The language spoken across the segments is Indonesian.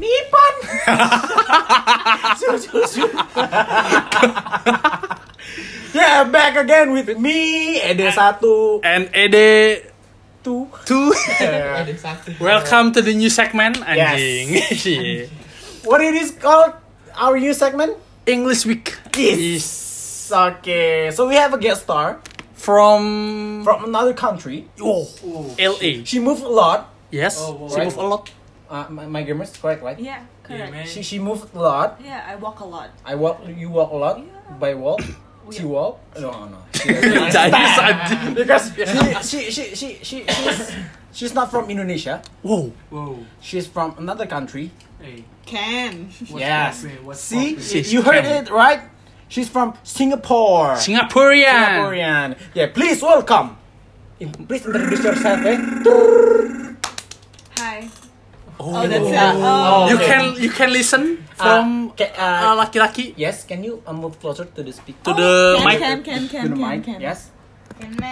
Nipan. Su- su- su. yeah, back again with me, ED1. NED Tuh. 2 Ada satu. Welcome to the new segment anjing. What it is called? Our new segment? English week Yes. Okay, so we have a guest star from from another country. oh, Oh, LA. She moved a lot. Yes. Oh, she right. moved a lot. Uh, my, my grammar is correct, right? Yeah, correct. Yeah, man. She, she moved a lot. I walk a lot. I walk, you walk a lot. Yeah. By walk, We- she walk. No, no. Chinese anjing. because she, she, she, she, she, she's, she's not from Indonesia. Wow. Whoa. She's from another country. Hey. Can. What's yes. poppin'? What's See, poppin'? She's you heard it Chinese. right. She's from Singapore. Singaporean. Singaporean. Yeah, please welcome. Please introduce yourself. Eh? Hi. Oh. Oh, that's it. Oh. You okay. can you can listen from Uh, ca- uh, uh, laki-laki yes, can you uh, move closer to the speaker? to the can, mic. Can, can, to can, the can, mic. can. Yes.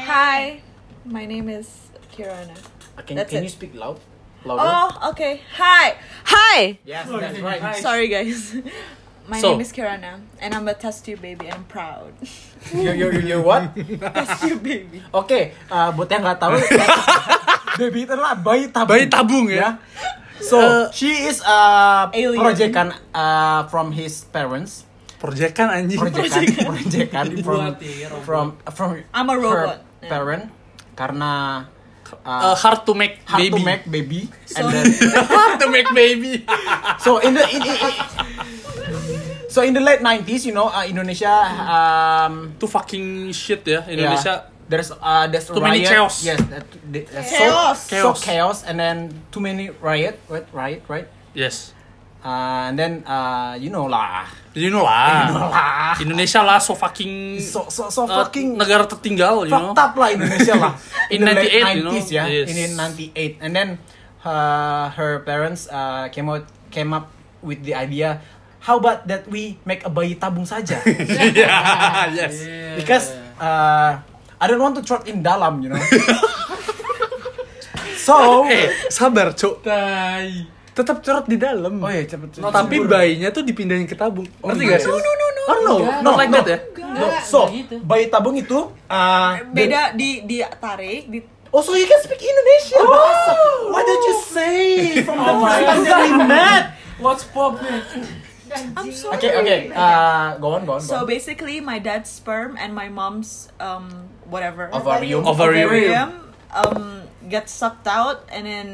Hi. My name is Kirana. Uh, Can, That's can it. you speak loud? Louder. Oh, okay. Hi. Hi. Yes, that's right. Sorry, guys. My So- name is Kirana, and I'm a test tube baby, and I'm proud. You're, you're, you're what? test tube baby. Oke, eh, buat yang nggak tahu, baby itu adalah bayi tabung. Bayi tabung ya. So Eh, she is a Uh, Alien. projekan eh, from his parents. Proyekan anjing. Projekan, projekan from Dibuat ya, robot. from from I'm a her robot. Yeah. parent karena Uh, hard to make hard baby. to make baby and So- then hard to make baby. so in the in, in- in- so in the late 90s you know uh, Indonesia um, Itu fucking shit ya Indonesia. Yeah. There's uh there's Too many riot. chaos. Yes, that, the- uh, so, Chaos. So chaos and then too many riot, right? Riot, right? Yes. Uh, and then uh you know lah. You know lah. Lah. Indonesia lah so fucking So so so uh, fucking negara tertinggal, you know. fucked up lah Indonesia lah. In the late 98, you know? 90s, yeah. Yes. In 98. And then uh, her parents uh came out came up with the idea how about that we make a bayi tabung saja? yeah, yes. Yeah. because uh I don't want to trot in dalam, you know. so Eh, sabar, Cok. Tai. Tetap cerot di dalam. Oh iya cepet. cepet. Tapi Cepet. bayinya tuh dipindahin ke tabung. Ngerti gak sih? No, no, no, Oh no, no. no, Oh, iya. Not like no. that ya? No. So bayi tabung itu uh, Beda di di tarik di Oh so you can speak Indonesia. bahasa. What did you say from the first time that we met? What's poppin'? I'm sorry. Okay, okay. Uh, go on, go on. Go So on. basically, my dad's sperm and my mom's um whatever Ovarium. Ovarium. ovarium, um gets sucked out and then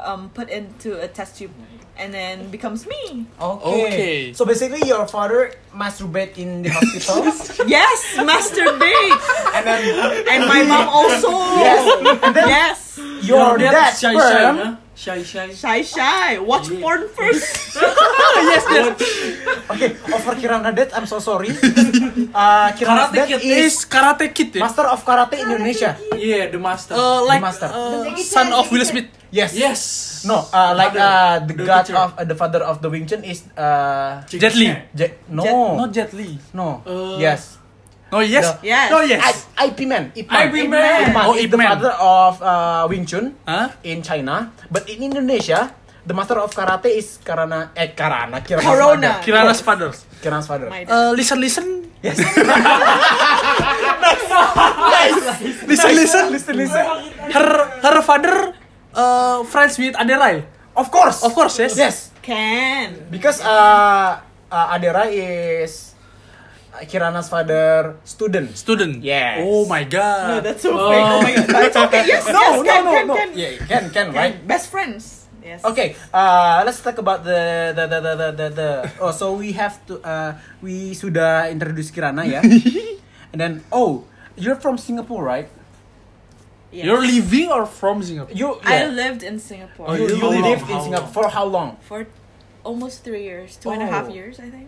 um put into a test tube and then becomes me. Okay. Okay. So basically your father masturbate in the hospital Yes, masturbate. and then and my mom also. Yes. And then Yes. your dad shy shy, sperm huh? Shy shy. Shy shy. Watch Yeah. porn first. yes, yes. Okay, over Kirana Dead, I'm so sorry. Uh, Kirana Karate Dead Kid is Is karate kid ya? Master of Karate Indonesia. Yeah, the master. Uh, like Master. uh, son of Will Smith. Yes. yes. No, uh, like uh, the, The god teacher. of uh, the father of the Wing Chun is uh, Jet Li. Jet- no, Jet, not Jet Li. no, Uh, yes, No, yes. No. Yes. No, Oh, yes. I, Ip Man, Ip Man, Ip Man. Ip Man Oh, is Ip the Man. father of uh, Wing Chun Hah? in China, but in Indonesia, the master of karate is Karana, eh Karana, Kirana, Corona. Father. Kirana's father. Kirana's father. My dad. Uh, listen, listen. Yes. Listen, listen. listen, listen. Her, her father uh, friends with Aderai. Of course, Of course, yes. yes. Can. Because uh, uh, Adera is uh, Kirana's father student. Student. Yes. Oh my No, god. that's so fake. Oh my god. That's okay. Yes, yes, can, can, can. Yeah, you can, can, Can. right? Best friends. Yes. Okay, uh, let's talk about the the the the the, the, the. Oh, so we have to uh, we sudah introduce Kirana ya. And then oh, you're from Singapore, right? Yes. You're leaving or from Singapore? You yeah. I lived in Singapore. Oh, you, you How long? lived in How Singapore long? for how long? for almost three years, two and a half Oh. years, I think.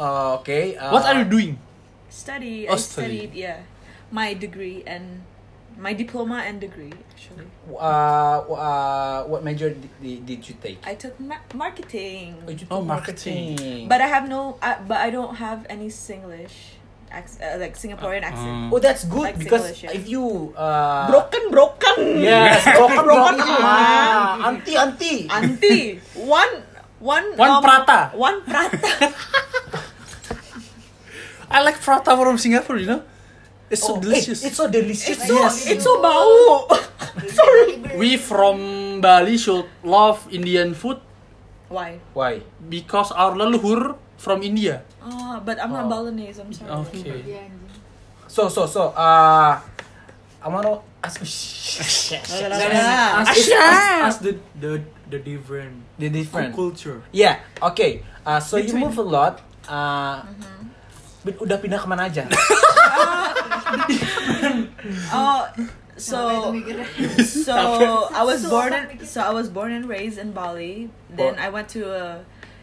Uh, okay. Uh, What are you doing? Study. Oh, I study. studied, yeah, my degree and my diploma and degree actually. Uh, uh, what major did, did you take? I took ma- marketing, you took Oh, marketing. but I have no, I, but I don't have any Singlish, acc- uh, like Singaporean accent. Oh, that's good Like because Singlish, yeah. if you uh, Broken, broken. yes, broken, broken, Broken. ah, auntie, auntie, Auntie, one One um, One prata. One prata. I like prata from Singapore, you know. It's so Oh, eh, delicious. it's so delicious. it's so yes. it's so bau. Sorry. we from Bali should love Indian food Why? Why? because our leluhur from India. Oh, but I'm not Balinese. I'm sorry. Okay. Iya anjing. So so so. Uh, I wanna ask the Then Ah. ask, ask, ask the, the the different different. culture. Yeah. Okay. Uh, so you move a lot. Uh, Mm-hmm. but udah pindah kemana aja? Oh, Capek tuh so mikirnya. so I was So born apa in, so I was born and raised in Bali. Then I went to a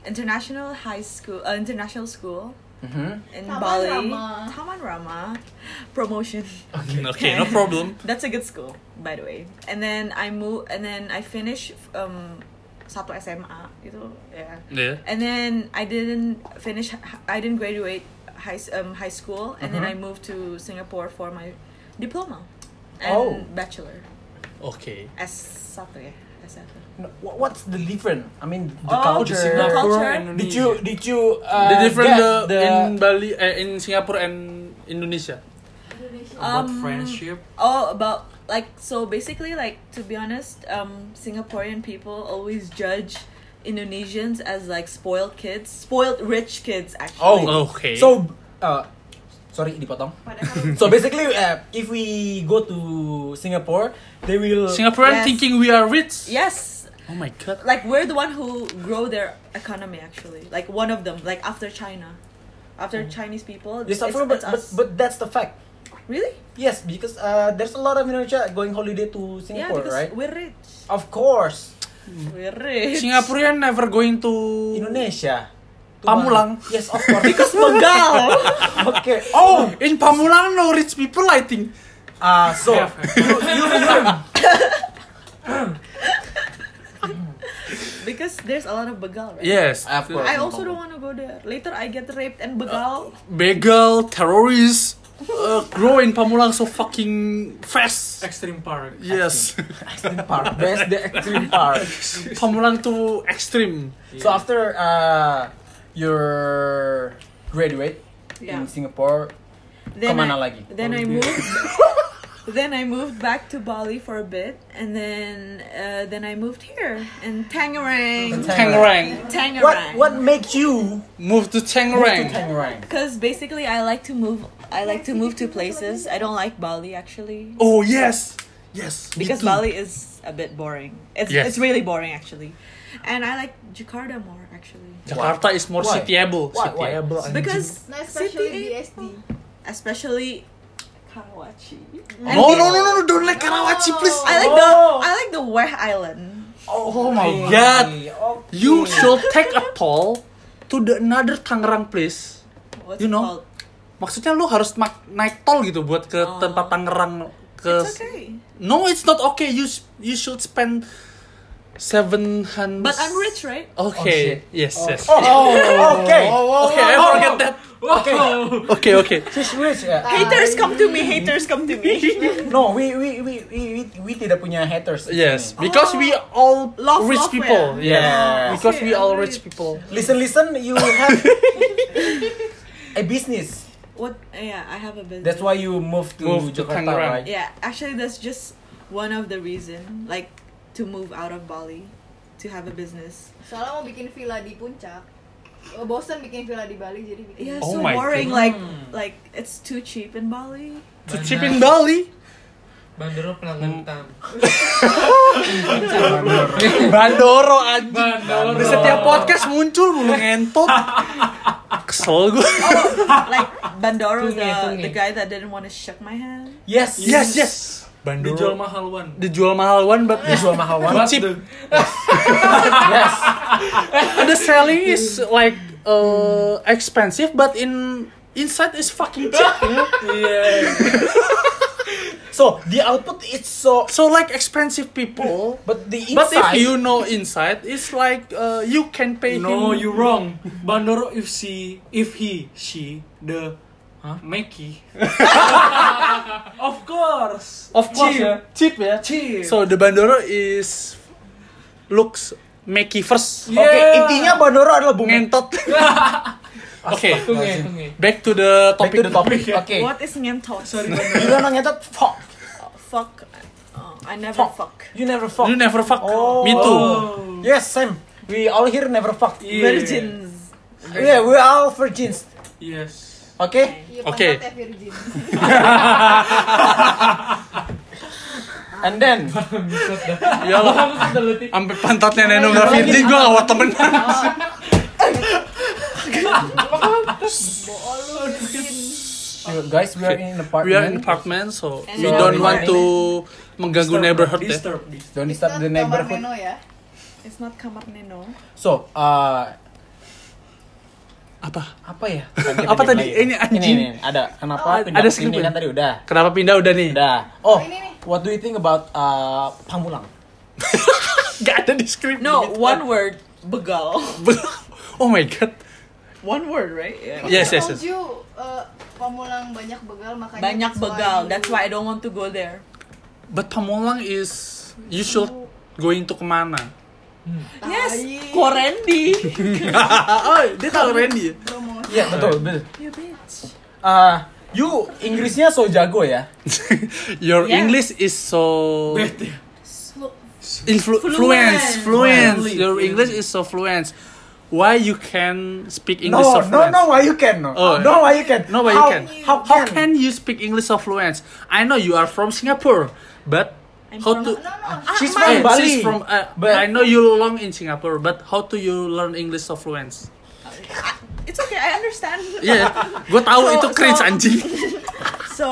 international high school, uh, international school Mhm. in Taman Bali. Rama. Taman Rama, promotion. Mm, Okay, no problem. That's a good school, by the way. And then I moved, and then I finished um, satu SMA gitu, yeah. Yeah. And then I didn't finish. I didn't graduate high s- um, high school, and then I moved to Singapore for my diploma and Oh. bachelor. Okay. S satu ya, S satu. No, wha- What's the different? I mean, the Oh, culture. the Singapore. culture. Did you did you uh, the different get the, the in Bali eh, in Singapore and Indonesia. Indonesia. about Um, friendship? Oh, about like so basically like to be honest, um, Singaporean people always judge Indonesians as like spoiled kids, spoiled rich kids actually. Oh. Okay. so uh, sorry dipotong. Padahal kan So basically, uh, if we go to Singapore, they will. Singaporean Yes. thinking we are rich. Yes, Oh my god. like we're the one who grow their economy actually. Like one of them, like after China, after Chinese people. Yes, It's, of course, but, it's but, us. but that's the fact. really, Yes, because uh, there's a lot of Indonesia going holiday to yeah, Singapore, because right? we're rich. Of course, We're rich. Singaporean never going to Indonesia. To Pamulang. Bali. Yes, of course. because Bengal. okay. Oh, In Pamulang no rich people I think. uh, so you, you because there's a lot of Bengal, right? Yes. Of course. I also don't want to go there. Later, I get raped and begal. Begal, terrorists uh, grow in Pamulang so fucking fast. Extreme park. Yes. extreme part. That's the extreme part. Pamulang to extreme. So after uh, your graduate Yeah. in Singapore, Then Kemana I, lagi? Then I Holiday. moved. then I moved back to Bali for a bit, and then uh, then I moved here in Tangerang. Tangerang. Tangerang. what what makes you Move to to Tangerang. Tangerang? Because basically, I like to move. I like to move to places. I don't like Bali actually. Oh yes. Yes. me Because too. Bali is a bit boring. It's Yes. it's really boring actually, and I like Jakarta more actually. Jakarta is more Why? cityable. Why? Why? Cityable. anjing. Because Nah, especially City- BSD. especially Karawaci. No, no, no, no, no, don't like Karawaci, please. I like Oh. the I like the Weh Island. Oh my God. Okay. You should take a toll to the another Tangerang place. What's You it know, called? Maksudnya lu harus ma- naik tol gitu buat ke Oh. tempat Tangerang ke It's okay. No, it's not okay. You s- you should spend 700 But I'm rich, right? Oh, shit. Okay. yes, yes. Oh, okay. okay, I forget that. Okay. Okay, okay. She's rich. Yeah. Haters come to me. Haters come to me. No, we we we we we, we tidak punya haters. di Yes, sini. because we all Oh. Love, rich love, people. yeah. Yeah. Yeah. Because we Oh, Okay, all I'm rich rich. people. Listen, listen. You have a business. what? Yeah, I have a business. That's why you move to Move to Jakarta, Tangerang. right? Yeah, actually, that's just one of the reason, like, to move out of Bali, to have a business. Soalnya mau bikin villa di puncak. Eh, Bosan bikin villa di Bali jadi bikin. Yeah, Oh so my boring. God. Like, like it's too cheap in Bali. To cheap in Bali. Bandoro Penangentam. Bandoro anjing. Bandoro. Di ya. setiap podcast muncul mulu ngentot. Kesel gue. like Bandoro, Tunge, the, tunge. the guy that didn't want to shake my hand. Yes. Yes, yes. Bandoro. Dijual mahal one. Dijual mahal one but it's Dijual mahal one. too cheap. Yes. the selling is like uh, expensive but in inside is fucking cheap you know? Iya. So the output is so, so like expensive people but the but inside. if you know inside it's like uh, you can pay No, him you wrong. Bandoro if she, if he, she, the, huh? Meki. of course. of course Cheap. ya cheap ya Cheap. so the bandoro is looks Meki first. Oke, intinya Bandoro adalah bumen. Ngentot. Oke. Tunge, tunge. Back to the Back to topic. the topic. Oke. What is ngentot? Sorry. You don't know ngentot? Fuck. Oh, fuck. Oh, I never Fuck. fuck. You never fuck. You never fuck. Oh. Me too. Yes, same. We all here never fuck. Iya. Virgins. Yeah, we all virgins. Yes. Oke. Iya, Oh, Oke. pantatnya virgin. And then Iyalah. Sampai pantatnya Neno nggak virgin, gue awat temenan. guys, we are in an apartment. We are in apartment, so And we we don't are want to mengganggu neighborhood ya. Disturb, disturb. Don't Itu disturb the kamar neighborhood. Meno ya. It's not kamar neno. So, uh, Apa? apa ya? Apa tadi? Ini anjing. Ini, ini, ada. Kenapa? Ada pindah ke skrip sini ya? kan tadi udah. Kenapa pindah udah nih? Udah. Oh, ini nih. what do you think about uh, Pamulang? Gak ada di script. No, one word. Begal. oh my god. One word, right? Yeah. Yes, yes, yes. Told you, uh, pemulang banyak begal Banyak makanya that's why begal. you- That's why I don't want to go there. But Pamulang is you should going to kemana? Yes, Tai. Korendi. oh, dia tahu Randy. ya? Promosi. Iya, betul, betul. you bitch. Uh, you Inggrisnya so jago ya. Your Yeah. English is so Bad ya. Slu- influ fluence, Fluence. fluence. Fluently, Your fluently. English is so fluence. Why you can speak No, English so no, fluent? no, why you can? No, Oh. no, why you can? No, why you how, can? How How can? can you speak English so fluent? I know you are from Singapore, but I'm how from- to? No, no. Ah, She's Eh, from Bali. she's from, uh, But- I know you long in Singapore, but how do you learn English so fluent? It's okay, I understand. Iya, gue tahu So- itu cringe so- anjing. So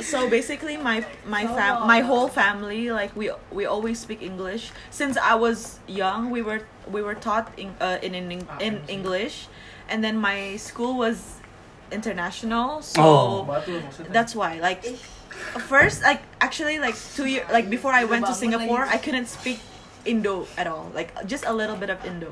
so basically my my fam my whole family like we we always speak English since I was young we were we were taught in uh, in, in in English and then my school was international so Oh. Batu lah maksudnya. that's why like first like actually like two year like before I went to Singapore I couldn't speak Indo at all like just a little bit of Indo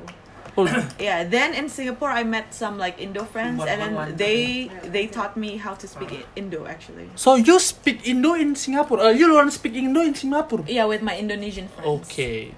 Oh, yeah then in singapore i met some like indo friends and then they they taught me how to speak I- Uh-huh. indo actually So you speak Indo in Singapore? Uh, you learn speak Indo in Singapore? yeah with my indonesian friends Okay.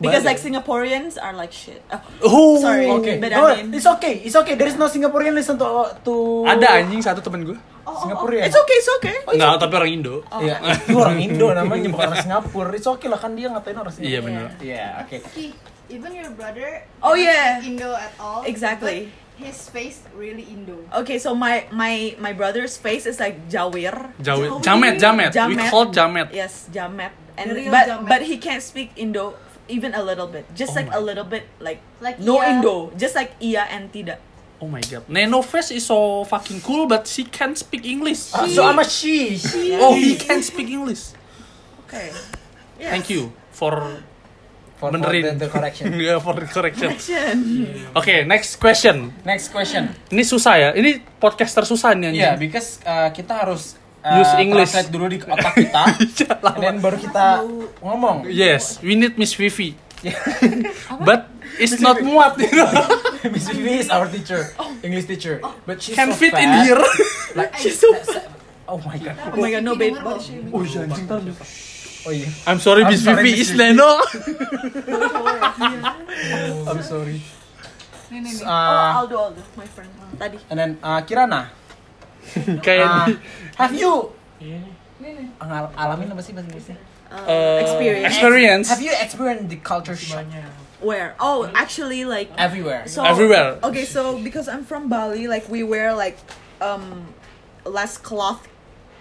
because like singaporeans are like shit oh, oh, sorry Oke, but no, I mean, it's okay, it's okay. There is no Singaporean listen to uh, to Oh, ada anjing satu temen gue. Singaporean. it's okay it's okay Enggak, tapi orang Indo. Oh. Iya, itu orang Indo namanya bukan orang Singapura. It's okay lah kan dia ngatain orang Singapura. Iya benar. Iya, oke. He- Even your brother Oh, not yeah. Indo at all. Exactly. but his face really Indo. okay so my my my brother's face is like jawir Oh, Jawa, jamet, jamet, We call jamet. yes jamet and The real but jamet. but he can't speak indo even a little bit just Oh like my- a little bit like Like no iya. indo just like iya and tidak Oh my god. Nano Face is so fucking cool, but she can't speak English. Ah, so I'm a she. She. oh, he can speak English. okay Thank you for For, for the, benerin. the correction. Yeah, Iya, for the correction. Oke, Action. next question. Next question. Ini susah ya. Ini podcaster susah Iya, nih anjing. because uh, kita harus uh, Use English. translate dulu di otak kita. Iya, and lama. then baru kita ngomong. Yes, we need Miss Vivi. But it's not muat, you know. Miss Vivi is our teacher, English teacher. But she's Can so fit fat. in here. Like, She's so oh my god. Oh my god, no, babe. What- Nomor berapa? Oh iya, anjing ntar. Oh iya, I'm sorry, I'm Miss sorry, Vivi Miss is Vivi. Leno. I'm sorry. Nih, nih, nih. Uh, oh, Aldo, Aldo, my friend. Tadi. and then uh, Kirana, uh, Kayak have you Iya. Ngal- alamin apa sih bahasa Inggrisnya? Uh, uh, experience. experience. Have you experienced the culture shock Banyak. Where? Oh, actually, like. everywhere? So, Everywhere. Okay, so because I'm from Bali, like we wear like um less cloth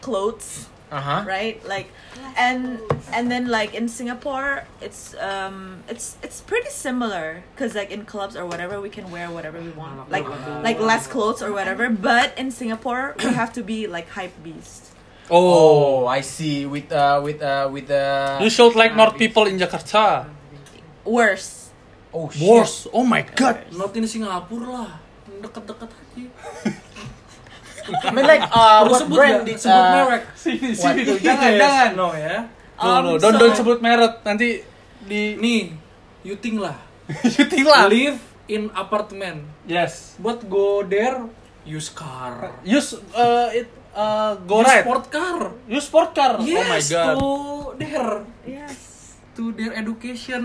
clothes, Uh-huh. right? Like, and and then like in Singapore, it's um it's it's pretty similar because like in clubs or whatever, we can wear whatever we want, like like less clothes or whatever. But in Singapore, we have to be like hype beast. Oh, Oh, I see. With uh, with uh, with the you should like North people in Jakarta. Worse. oh shit. Worse. Oh my god. Not in Singapura lah. Deket-deket aja. I mean like uh, Perlu what sebut brand nggak? did Sebut uh, merek. Sini, sini. What? Jangan, Yes. jangan. No ya. No, no, Um, don't so- don't sebut merek nanti di Nih, yuting lah. syuting lah. Live in apartment. Yes. Buat go there, use car. Use uh, it uh, go Use ride. sport car. Oh Use sport car. Yes, oh my god. go there. Yes. to their education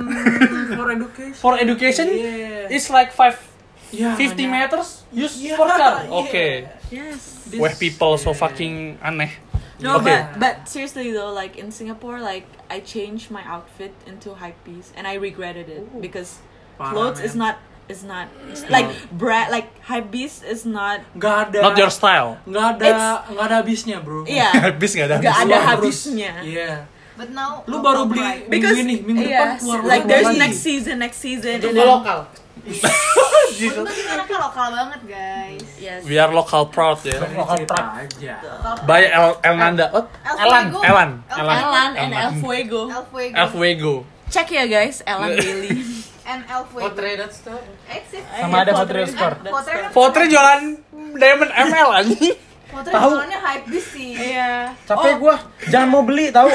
for education. For education, Yeah. it's like five, Yeah, 50 man. meters use Yeah, for car. yeah. Oke. Yes. This- Where people so yeah. fucking aneh. No, Okay. but but seriously though, like in Singapore, like I changed my outfit into hype piece and I regretted it because Parah, clothes man. is not is not like bra like hype beast is not nggak ada Not your style. nggak ada It's- nggak ada habisnya bro. yeah Habis nggak ada nggak habis. ada Keluar terus. habisnya. Iya. But now Lu baru local beli pride. minggu Because ini minggu yeah, depan keluar lagi. like there's next season, next season, and then- Untung kita anaknya lokal banget guys yes. We are local proud ya. Cerita gitu aja. Lokal By El Elnanda. What? El Elan, Fuego. Elan, El Elan. Elan and El Fuego. El Fuego El Fuego. Check ya guys, Elan Daily. and El Fuego Potre dot store. Exit Sama ada Potre Store. Potre kan Potre jualan Diamond ML anjing. Potre Tahu. jualannya hype bis sih Iya. Capek gua, jangan mau beli tahu.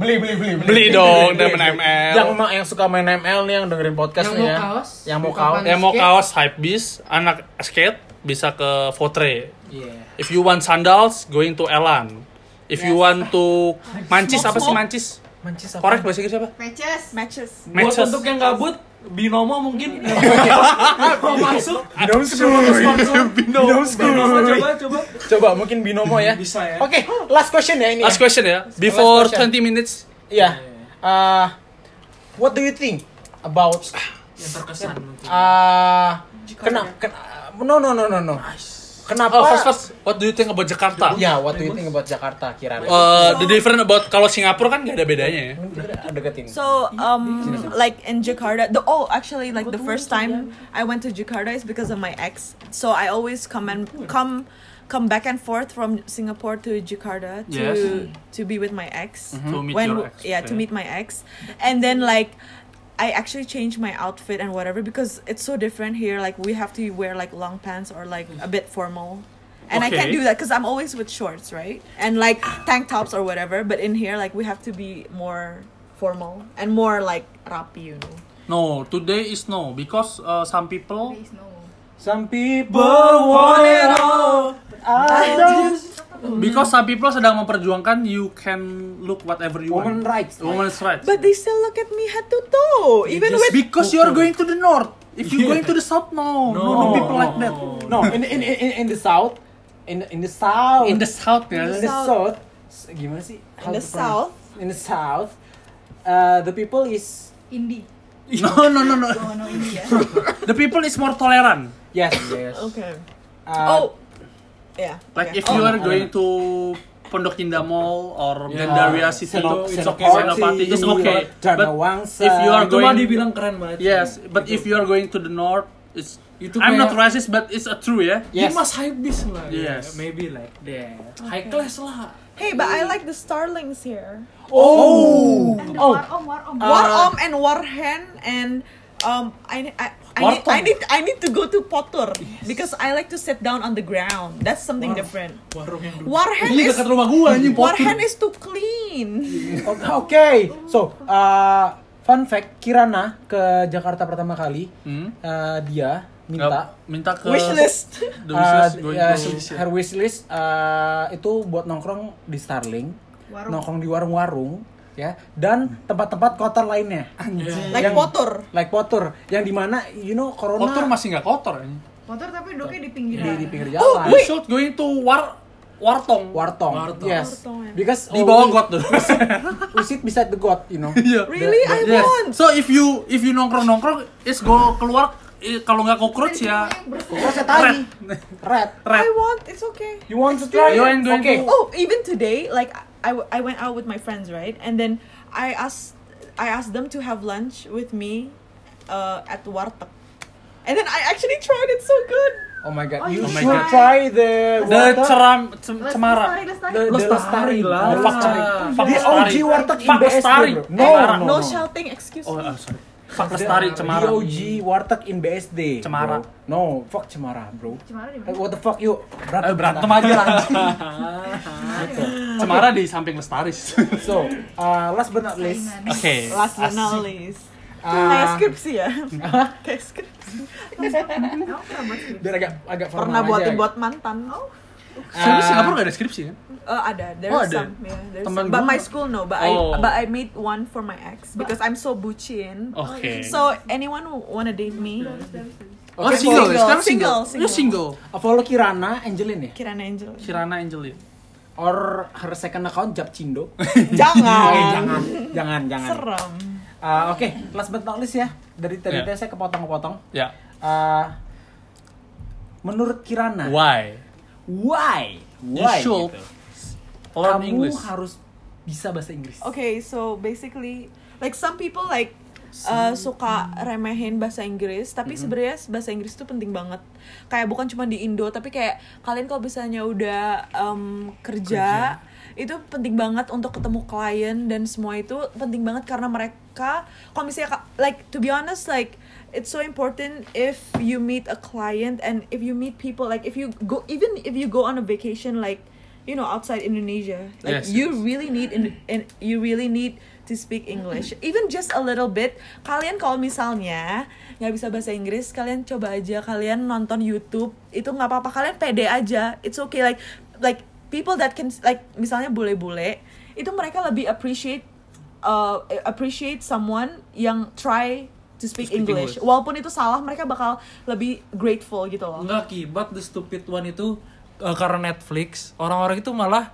beli beli beli Beli dong Diamond ML. Yang ma- yang suka main ML nih yang dengerin podcast Yang nih mau ya. kaos, Yang mau buka kaos. pan- Yang mau kaos Hypebeast, anak skate bisa ke Fotre. Iya. If you want sandals, going to Elan. If you want to mancis apa sih mancis? Mancis apa? Korek bahasa Inggris apa? Matches Matches. Buat Matches. untuk yang gabut binomo mungkin Iya. mau masuk Binom school. Binom coba coba coba Coba mungkin binomo Iya. ya. bisa ya. Oke, last question ya ini. ya. Last question ya. Before Last question. 20 minutes. Iya. Eh, what do you think about Yang terkesan mungkin. Ah. eh kenapa no no no no no. Kenapa? Oh, first first, what do you think about Jakarta? Ya, what do you think about Jakarta kira? Uh, the different about kalau Singapura kan gak ada bedanya ya. deketin. So um like in Jakarta the oh actually like the first time I went to Jakarta is because of my ex. So I always come and come come back and forth from Singapore to Jakarta to Yes. Mm-hmm. to be with my ex. To meet your ex, yeah, to yeah. meet my ex. And then like I actually changed my outfit and whatever because it's so different here like we have to wear like long pants or like a bit formal. And I can't Okay. do that because I'm always with shorts, right? And like tank tops or whatever. But in here, like we have to be more formal and more like rapi, you know. No, today is no because uh, some people Please no Some people People want it all. because some people sedang memperjuangkan you can look whatever you Woman want. rights. Oh. Woman's rights. But they still look at me head to toe, even Just with because you're going to the north. If you're going to the south, no, no, no people like that. No, Oh. in in in, in the south, in in the south, In the south ya. in the south, s- gimana sih? in How the to pronounce? south. In the south, uh, the people is Indie No, no, no, no. Oh no India The people is more tolerant. yes yes. Okay. Uh, oh, yeah. Like okay. if you Oh. are going to Pondok Indah Mall or Yeah. Gandaria City, Senop- it's okay. Senopati, Senopati, it's okay. Dharma But Wangsa. if you are Itu mah going- dibilang keren banget. yes, but if you are going to the north, it's. Itu I'm not kayak- racist, but it's a true ya. Yes. He must high bis lah. Yes. Yeah, maybe like that. High class lah. hey, but I like the starlings here. Oh. And Eh, the Oh. Warom Warom Uh, Warom and Warhen and um, I I. I need, I Wartong. need I need to go to Potur because I like to sit down on the ground. That's something different. Warung yang dulu. Warhen Ini is dekat rumah gua anjing Potur. Warhen is too clean. Oke, okay. so uh, fun fact, Kirana ke Jakarta pertama kali, Hmm? uh, dia Nggak- minta minta ke Wishlist. The wishlist uh, going uh, to- she- her wishlist uh, itu buat nongkrong di Starling, Warung. nongkrong di warung-warung, ya, dan tempat-tempat kotor lainnya, Like Yang- Potur. like Potur, yang dimana you know corona kotor masih nggak kotor ini. Motor tapi duduknya di di, pinggiran di pinggir Oh, jalan, You Wait. should going to war wartong. wartong, Wartong. yes, Wartong, ya. because Di bawah we- got tuh. iya. we sit beside the got, you know, Iya. Really? I Yes. want. So if you if you nongkrong nongkrong, it's go keluar eh, kalau nggak cockroach iya. ya. terus saya tadi, red, I Red. want. It's okay. you want to try? You it? ain't going Okay. to- Oh, even today, like I, I went out with my friends, right? And then I asked I asked them to have lunch with me uh, at Warteg. And then I actually tried it so good. Oh my god, Oh, you you should should try the The water- ceram cem, Lestari cemara. Oh, Lestari the, the Lestari lestari lah. The Fuck lestari. Fuck The OG lestari. warteg in Fuck BSD, lestari. bro. No, Cemara. no, Oh, No no. shouting, excuse Oh, me. I'm sorry. Fuck lestari cemara. The OG warteg in BSD. Cemara. bro. No, fuck cemara, bro. Cemara di Eh, mana? What the fuck you? Eh, berantem aja lah. cemara di samping lestari. So, uh, last but not least, Oke. Last but not least. Kayak uh, skripsi ya. Kayak skripsi. Emang pernah buat skripsi? biar agak agak formal Pernah buatin aja. ya. buat mantan. Oh. Soalnya Singapura gak ada skripsi kan? Uh, ada. There's Oh, ada. some. Yeah, there's Teman some. But gua- my school no. Oh. But I but I made one for my ex because I'm so bucin. Oh, iya, Oke. So anyone who wanna date me? Oh, Oke, single, single, sekarang single, single. Lu single. single. Apollo Uh, Kirana Angelin ya? Kirana Angel. Kirana Angelin. Or her second account Japcindo? Eh, Jangan. jangan, jangan, jangan. Serem. Ah, Oke, last but not least ya. Dari tadi Iya. saya kepotong-kepotong. Ya. Ah, menurut Kirana, Why? why? You Why? should gitu. learn Kamu English. harus bisa bahasa Inggris. Okay, so basically, like some people like uh, suka remehin bahasa Inggris, tapi sebenarnya bahasa Inggris itu penting banget. Kayak bukan cuma di Indo, tapi kayak kalian kalau misalnya udah um, kerja, itu penting banget untuk ketemu klien dan semua itu penting banget karena mereka kalau misalnya ka- like to be honest like it's so important if you meet a client and if you meet people like if you go even if you go on a vacation like you know outside Indonesia like Yes, you yes. really need in, in- you really need to speak English even just a little bit kalian kalau misalnya nggak bisa bahasa Inggris kalian coba aja kalian nonton YouTube itu nggak apa-apa kalian pede aja it's okay like like people that can like misalnya bule-bule itu mereka lebih appreciate uh, appreciate someone yang try to speak, speak English. English. walaupun itu salah mereka bakal lebih grateful gitu loh Enggak Ki, but the stupid one itu eh, karena Netflix, orang-orang itu malah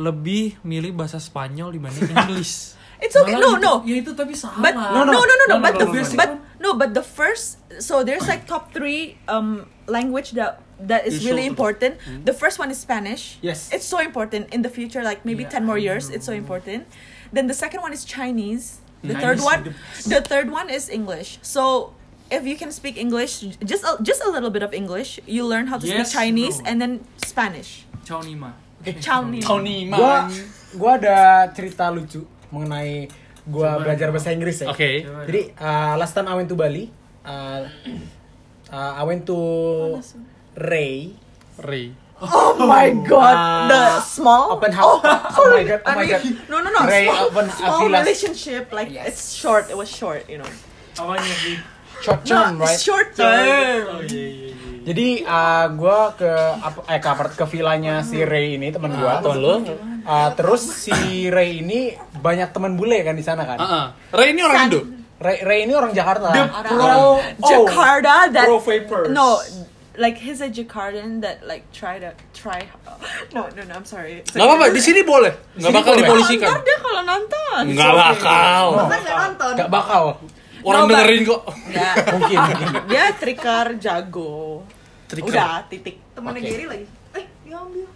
lebih milih bahasa Spanyol dibanding Inggris. It's okay. Malah No, itu- Ya itu tapi sama. But no no no no, No, no, but no, the no, no, first no. but no but the first so there's like top three um language that that is You really should. important. The first one is Spanish. Yes. It's so important in the future, like maybe Yeah, ten more I years. It's so important. Then the second one is Chinese. The Mm. third Chinese one, is the third one is English. So if you can speak English, just a, just a little bit of English, you learn how to Yes, speak Chinese bro. and then Spanish. Ciao Nima. Ciao Nima. Kau nih, Gua, gua ada cerita lucu mengenai gua Coba. belajar bahasa Inggris ya. Oke. Coba. Jadi uh, last time I went to Bali, uh, uh, I went to Ray. Ray. Oh my God! the small Open house. Oh, my god. Oh I my mean, god. No, no, no. Ray small, Alvin small Avilas. relationship. Like Yes. it's short. It was short, you know. Awalnya Ki. Short term, no, right? it's short term. Oh iya iya iya. Jadi uh, gua ke apa eh ke apart- ke villanya si Ray ini teman gua. Tuan lu. Uh, terus si Ray ini banyak teman bule kan di sana kan. Heeh. Ray ini orang Indo. Ray, Ray ini orang Jakarta. The Orang- oh, Jakarta. That Pro vapors. no. Like he's a Jakartan that like try to try. No, no, no. I'm sorry. Gak apa-apa, di sini boleh. Gak bakal boleh. dipolisikan. Nonton deh kalau nonton. Gak bakal. Kan nggak nonton. Gak bakal. Orang No, but- dengerin kok. Nggak. Mungkin. mungkin. Dia trikar jago. Tricker. Udah titik. Temennya Oke. Gary lagi. Eh, diambil.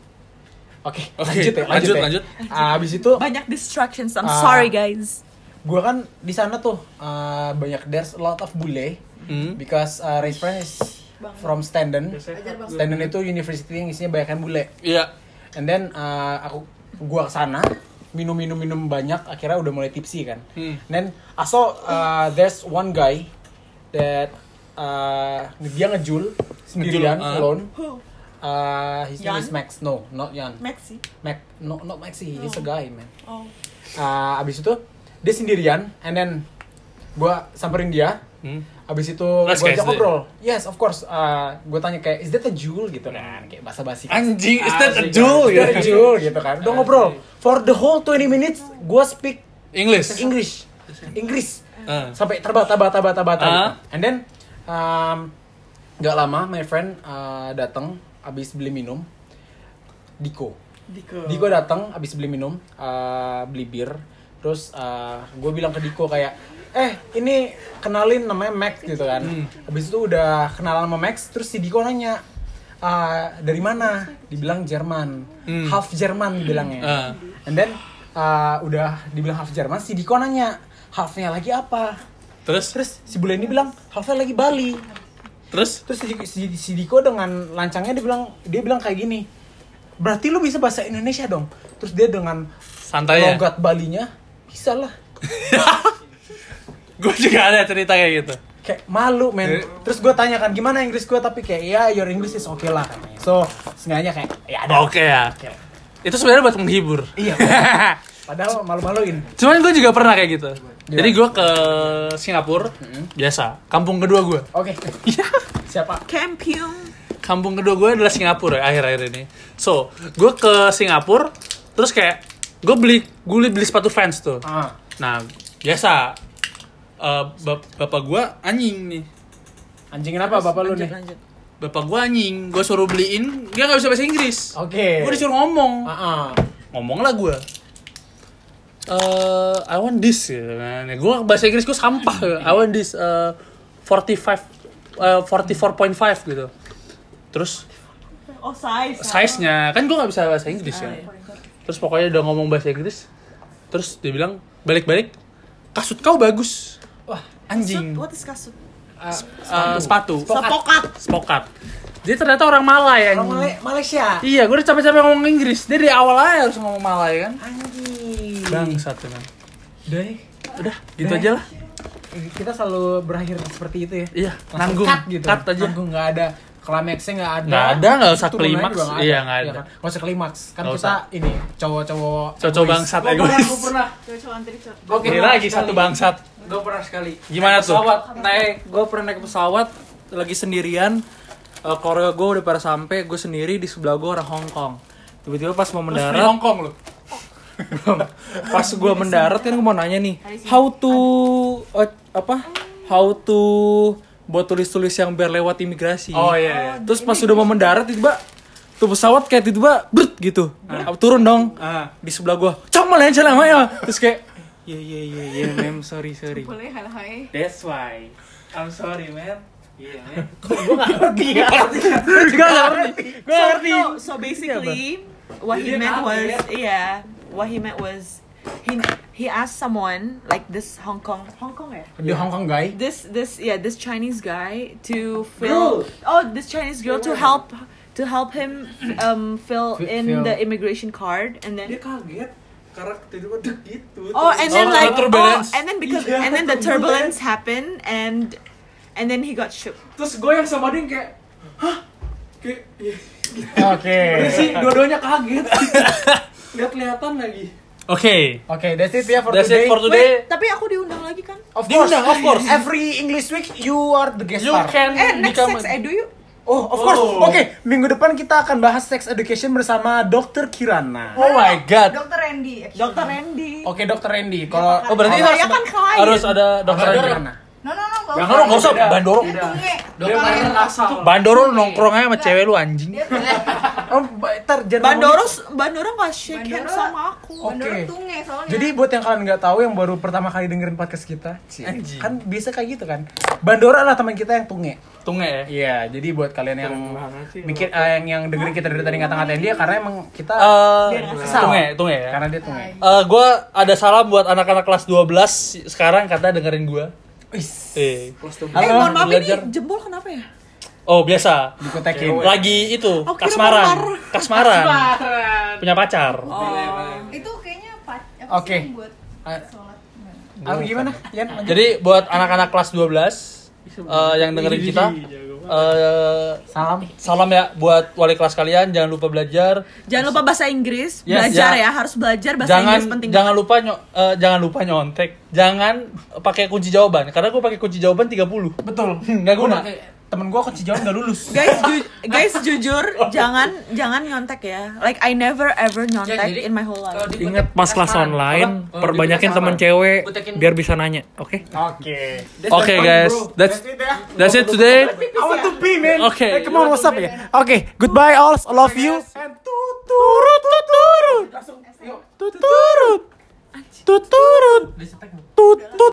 Oke, Oke, lanjut ya, lanjut. lanjut, ya. lanjut. Ah, abis itu Banyak distractions. I'm Ah. sorry guys. gua kan di sana tuh ah, banyak there's a lot of bule Hmm. because ah, Ray Friend is from Standen. Ajar bang. Standen itu university yang isinya banyak bule. Iya. And then ah, aku gua kesana minum minum minum banyak akhirnya udah mulai tipsy kan. Hmm. And then I saw ah, there's one guy that ah, dia ngejul sendirian ah. alone. Who? Ah, his name Jan? is Max. No, not Jan. Maxi. Mac, no, not Maxi. He's a guy, man. Oh. Ah, abis itu dia sendirian and then gua samperin dia Hmm. abis itu Let's gua guys, ajak deh. ngobrol yes of course Ah, gua tanya kayak is that a jewel gitu kan kayak bahasa basi Nah. kan. Anjing, is that a Asik, jewel? is that a Gitu. jewel gitu kan udah ngobrol for the whole 20 minutes gua speak English. English Inggris Ah. sampai terbata-bata-bata-bata Ah. gitu. and then um, gak lama my friend ah, datang abis beli minum Diko Diko. Diko datang abis beli minum, eh, beli bir. Terus gue bilang ke Diko kayak, eh ini kenalin namanya Max gitu kan. Hmm. Abis itu udah kenalan sama Max, terus si Diko nanya, "Eh, dari mana? Dibilang Jerman, Hmm. half Jerman bilangnya. Ah. And then eh, udah dibilang half Jerman, si Diko nanya, halfnya lagi apa? Terus? Terus si Bulan ini bilang, halfnya lagi Bali. Terus? Terus si, si, si Diko dengan lancangnya dia bilang dia bilang kayak gini. Berarti lu bisa bahasa Indonesia dong. Terus dia dengan Santai ya. logat Balinya bisa lah. Gue juga ada cerita kayak gitu. Kayak malu Eh. men. Terus gue tanyakan gimana Inggris gue tapi kayak ya your English is okay lah. katanya. So sengaja kayak ya ada. Oke ya. Itu sebenarnya buat menghibur. Iya. Padahal malu-maluin. Cuman gue juga pernah kayak gitu. Iya. Jadi gue ke Singapura, biasa. Kampung kedua gue. Oke. Siapa? Campion. kampung kedua gue adalah Singapura ya, akhir-akhir ini. So, gue ke Singapura, terus kayak gue beli gue beli sepatu fans tuh. Ah. Nah, biasa eh, bap- bapak gue anjing nih. Anjing kenapa bapak lu nih? lanjut. Bapak gue anjing, gue suruh beliin, dia nggak bisa bahasa Inggris. Oke. Gue disuruh ngomong, Ah, ah. ngomong lah gue. Eh, I want this. Gitu. kan. Gue bahasa Inggris gue sampah. gitu. I want this eh, 45, eh, 44.5 gitu. Terus Oh size. size-nya kan gue nggak bisa bahasa Inggris ya. Terus pokoknya udah ngomong bahasa Inggris. Terus dia bilang balik-balik kasut kau bagus. Wah, anjing. Kasut, What is kasut? Ah, Eh, sepatu. Sepokat. Spokat. Dia ternyata orang Malay Orang anjing. Malay- Malaysia. Iya, gue udah capek-capek ngomong Inggris. Dia dari awal aja harus ngomong Malay kan. Anjing. Bangsat kan. Udah nih, Udah, gitu aja lah. kita selalu berakhir seperti itu ya. Iya, Langsung nanggung. Cut gitu. Cut aja. Nanggung nggak ada klimaksnya nggak ada. Nggak ada, nggak usah Turunannya klimaks. juga Iya, nggak ada. kan? Nggak usah klimaks. Kan Nggak kita usah. ini cowok-cowok. Cocok egois. bangsat Gue pernah, egois. gue pernah. Cowok-cowok antri cowok. Oke, Ini lagi satu bangsat. Gue pernah sekali. Gimana Naik tuh? Pesawat. Naik, gue pernah naik pesawat lagi sendirian. Eh Korea gue udah pada sampai, gue sendiri di sebelah gue orang Hong Kong. Tiba-tiba pas mau Terus mendarat, Kong lu. Belum. pas gue mendarat kan gue mau nanya nih how to eh, apa how to buat tulis-tulis yang biar lewat imigrasi Oh iya. iya. terus pas udah mau mendarat tiba tuh pesawat kayak tiba brut gitu Apa, turun dong Ah. di sebelah gue cok malah yang jalan ya terus kayak ya ya ya ya mem sorry sorry Boleh hal hai. that's why I'm sorry man Iya, man. Gue nggak ngerti. Gue nggak ngerti. So, so basically, what he Dia meant tahu, was, ya? yeah, what he meant was, he he asked someone like this Hong Kong, Hong Kong ya. Di Hong Kong guy. This this yeah this Chinese guy to fill oh this Chinese girl to help to help him um fill Fi- in fill. the immigration card and then kaget karena tiba-tiba deg gitu oh and then Oh, like oh, turbulence. and then because Yeah, and then the turbulence. turbulence happened and and then he got shook terus gue yang sama dia yang kayak hah kayak "Iya." Oke. sih dua-duanya kaget lihat-lihatan lagi Oke. Oke, that's it ya for That's today. it for today. Wait, tapi aku diundang lagi kan Of course. Diundang, of course. Every English week you are the guest You star. can eh next become sex edu yuk Oh, of course. Oh. Oke, minggu depan kita akan bahas sex education bersama Dr. Kirana. Oh my god. Dokter Randy. actually. dokter Randy Oke, Dr. Randy. Kalau Oh berarti Saya harus kan klien. harus ada dokter Dr. aja. Kirana. No no no nggak Jangan lu nggak usah Beda. bandorong. Dia Beda. tunge. dia main asal Bandoro lu nongkrong aja sama cewek lu anjing. Dia tunge. Oh, ba- ntar jangan Bandoro ngomongin- Bandoro nggak shake hand Bandoro- Oh. sama aku Bandoro Oke. tunge soalnya. Jadi buat yang kalian nggak tahu yang baru pertama kali dengerin podcast kita, Cie, Anjing. kan biasa kayak gitu kan. Bandora adalah teman kita yang tunge. Tunge ya. Iya, jadi buat kalian yang Keren banget sih, mikir eh, yang yang dengerin kita dari tadi ngata-ngatain dia ya, karena emang kita Eh, kesal. tunge, tunge ya. karena dia tunge. Eh, gue ada salam buat anak-anak kelas 12 sekarang kata dengerin gue. Wis. Eh, eh Halo, mohon maaf belajar. ini jempol kenapa ya Oh biasa. Dikotekin. Lagi itu Aku Oh, kira kasmaran, marah. Oh. kasmaran, punya pacar. itu kayaknya pat apa Oke. sih yang buat Ah. sholat Apa gimana? Yan, lanjut. Jadi buat anak-anak kelas 12 eh, yang dengerin kita, Iya, eh, salam. salam ya buat wali kelas kalian. Jangan lupa belajar. jangan lupa bahasa Inggris Yes, belajar ya. ya harus belajar bahasa jangan Inggris penting jangan lupa nyo- eh, jangan lupa nyontek. Jangan pakai kunci jawaban karena gue pakai kunci jawaban 30. Betul. nggak guna. Gua pakai- Temen gua kunci jawab nggak lulus. guys ju- guys jujur jangan jangan nyontek ya like I never ever nyontek jadi- in my whole life Ingat pas kelas online, perbanyakin teman cewek biar bisa nanya, oke? Oke. Oke guys, That's that's it ya. that's it today. I want to be man. Eh, Okay. come on, what's up ya? Oke, goodbye all, I love you. And tuturut, tuturut, tuturut, tuturut, tuturut.